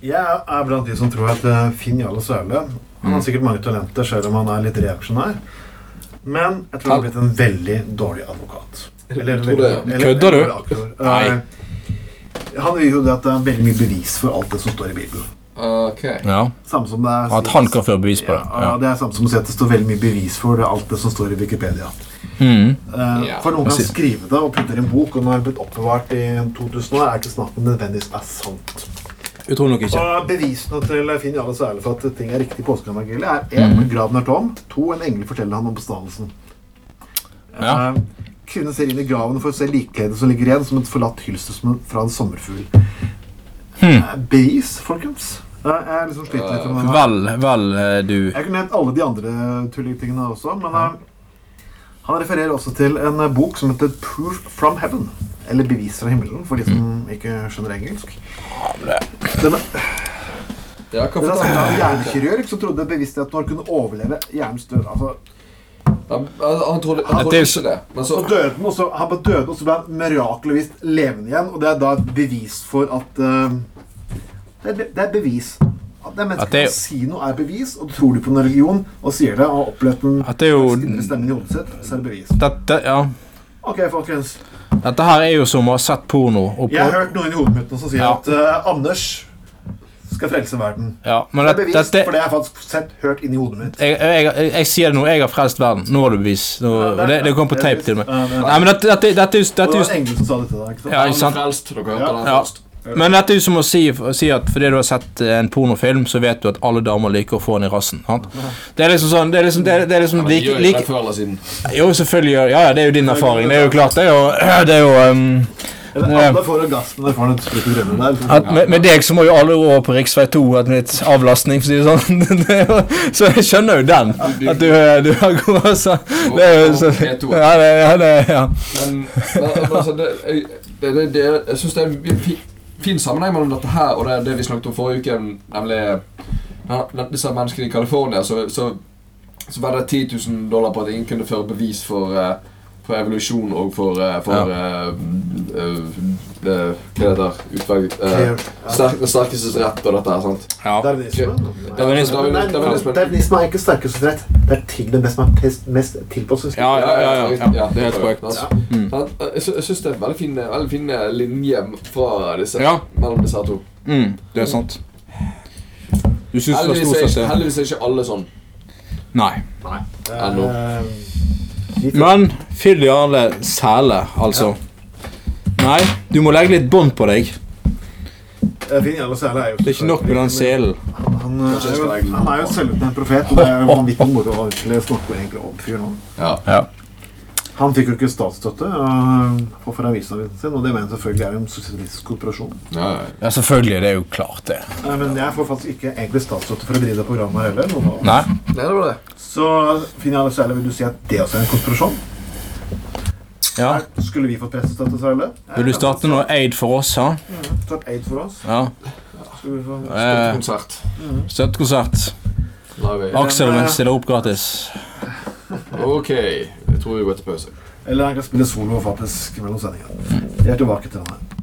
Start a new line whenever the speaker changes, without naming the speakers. Jeg er blant de som tror at eh, Finn Jarle Sørle Han
Mm.
har sikkert mange talenter, selv om han er litt reaksjonær. Men jeg tror han har blitt en veldig dårlig advokat. Eller,
Tror det.
eller-
Kødder du?
eller aktor. Eh, Han vil jo det at det er veldig mye bevis for alt det som står i Bibelen.
Ok.
Ja.
Samme som det er
At han kan føre bevis på det.
Ja, det er samme som å si at det står veldig mye bevis for det, alt det som står i Wikipedia.
Ja. Mm.
Eh,
Ja.
For noen kan
Precis.
skrive det og putte det i en bok, og når det er blitt oppbevart i 2000 år, er det ikke snakk om nødvendigvis er sant.
Utrolig nok ikke.
Og bevisene til Finn Jarle Særle for at ting er riktig i påskeevangeliet, er 1. graden er tom. To, en engel forteller han om oppstandelsen.
Ja.
Eh, Kvinnen ser inn i graven for å se likkledet som ligger igjen, som et forlatt hylster som en- fra en sommerfugl. Eh, Bevis, folkens. Eh, Jeg er liksom sliten litt med den her.
Vel, vel, eh, du.
Jeg kunne nevnt alle de andre tulletingene også, men eh, han refererer også til en eh, bok som heter Proof from Heaven. Eller Bevis fra himmelen, for de som ikke skjønner engelsk. Den er
Ja,
men det er sånn
hva
at en
fortalte han?
hjernekirurg som trodde bevisstheten vår kunne overleve hjernens død. Altså,
Han, han, han trodde, han
Det
trodde
er
ikke det. Men så
og døde den, og så, altså, han ble død, og så ble han mirakelvis levende igjen. Og det er da et bevis for at eh, det, er, be- det er bevis. At det er
At
mennesker
det-
som sier noe, er bevis. Og tror de på en religion og sier det, og har opplevd den
At det er jo-
indre stemmen i hodet sitt, så er det bevis.
Dette, ja.
Ok, folkens.
Dette her er jo som å ha sett porno. Og
Jeg har
på,
hørt noen i hodet mitt nå som sier
Ja.
at eh, Anders skal frelse verden.
ja, men
Det
det,
er bevis,
dette
for det har jeg faktisk sett hørt inni hodet mitt.
jeg, jeg, jeg, jeg sier det nå. Jeg har frelst verden. Nå har du bevis. Nå, og det, det kom på tape til meg.
Ja, det er-
Nei, men dette, dette, dette, er jo-
Og det
dette, er
var en engel som sa dette da, ikke sant?
Ja,
han
ikke sant?
frelst. Dere hørte
Ja.
den
Ja.
først.
jo- men dette er jo som å si, å si at fordi du har sett eh, en pornofilm, så vet du at alle damer liker å få den i rassen. Sant? Det er liksom sånn det er liksom, det er, det er liksom
Men de
like,
gjør jo det
like,
før eller siden.
Jo, selvfølgelig gjør Ja, ja, det er jo din erfaring. Det er jo klart. Det er jo, det er jo ehm,
Eller
Ja.
alle får orgasmen når de får en sprut i rømmen der.
at med, med deg så må jo alle over på rv. 2 ha litt avlastning, for å si det sånn. Det er jo- Så jeg skjønner jo den. At du, eh, du har god altså. Det er jo så Ja, det, ja, det, ja.
Men, men, men altså, det, jeg, det, det, det, jeg synes det er en fin, fin sammenheng mellom dette her og det, det vi snakket om forrige uke, nemlig ja, disse menneskene i California. Så, så, så var det 10 000 dollar på at ingen kunne føre bevis for, eh, for evolusjon og for, eh, for eh, eh, eh, Hva heter det? Utvalg, eh, sterk, den sterkestes rett og dette her. sant?
ja. Darwinisme.
Darwin- Darwinismen.
Darwinisme er ikke sterkest rett. Det er tingene mest, mest, mest tilpasset.
Ja, ja, ja, ja, ja. Det er helt korrekt.
Ja.
Mm.
Sant? Jeg, sy- jeg syns det er en veldig fin, eh, veldig fin linje fra disse,
Ja.
mellom disse her to.
Mm, det er sant. Du syns det var
Heldigvis
stort
er,
sett
ikke,
det?
heldigvis er ikke alle sånn.
Nei.
Ennå.
Eh,
Men fyll gjerne sele, altså. Nei, du må legge litt bånd på deg.
Finn Jarle Sæle er jo
Det er ikke nok med den selen.
Han, eh, han, er
jeg skal
jo-
legge den.
han er jo selvutnevnt profet, og det er jo vanvittig moro å egentlig snakke egentlig om fyren. han.
Ja.
Ja.
Han fikk jo ikke statsstøtte øh, for for avisavisen sin, og det mener jeg selvfølgelig er en sosialistisk korporasjon.
Ja,
ja, selvfølgelig. Det er jo klart, det.
Eh, Men jeg får faktisk ikke egentlig statsstøtte for å drive det programmet heller. nå.
Nei?
det var det.
Så Finn Jarle Sæle, vil du si at det også er en konspirasjon?
Ja.
Her Skulle vi fått pressestøtte, Sverre?
Vil du starte noe aid for oss, ha?
Tatt aid for oss.
Ja.
Skulle vi få-
Eh,
Konsert.
Støttekonsert.
Live. aid.
Aksel vil stille opp gratis.
Ok, jeg tror vi går til pause.
Eller han kan spille solo faktisk mellom sendingene. Jeg er tilbake til han her.